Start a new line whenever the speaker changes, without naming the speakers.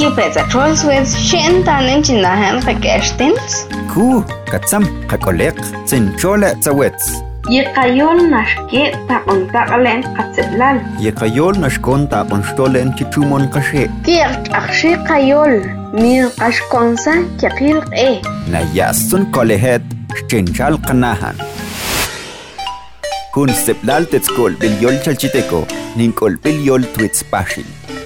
sorpresa. Trollswords xintanin chinahan qak'axtins.
Ku, katsam, qakoliq, tsinchola tsawets.
Yiqayol naxki taqontaqlen qatsiblal.
Yeqayol naxkon taponxtolen chichumon qashe.
Kiq'aqxi qayol mirqaxkonsa kiqilq'i.
Nayasun kolehet, xchinchal qanahan. Kun seplal tetskol bilyol chalchiteco, ninkol bilyol twitz pashin.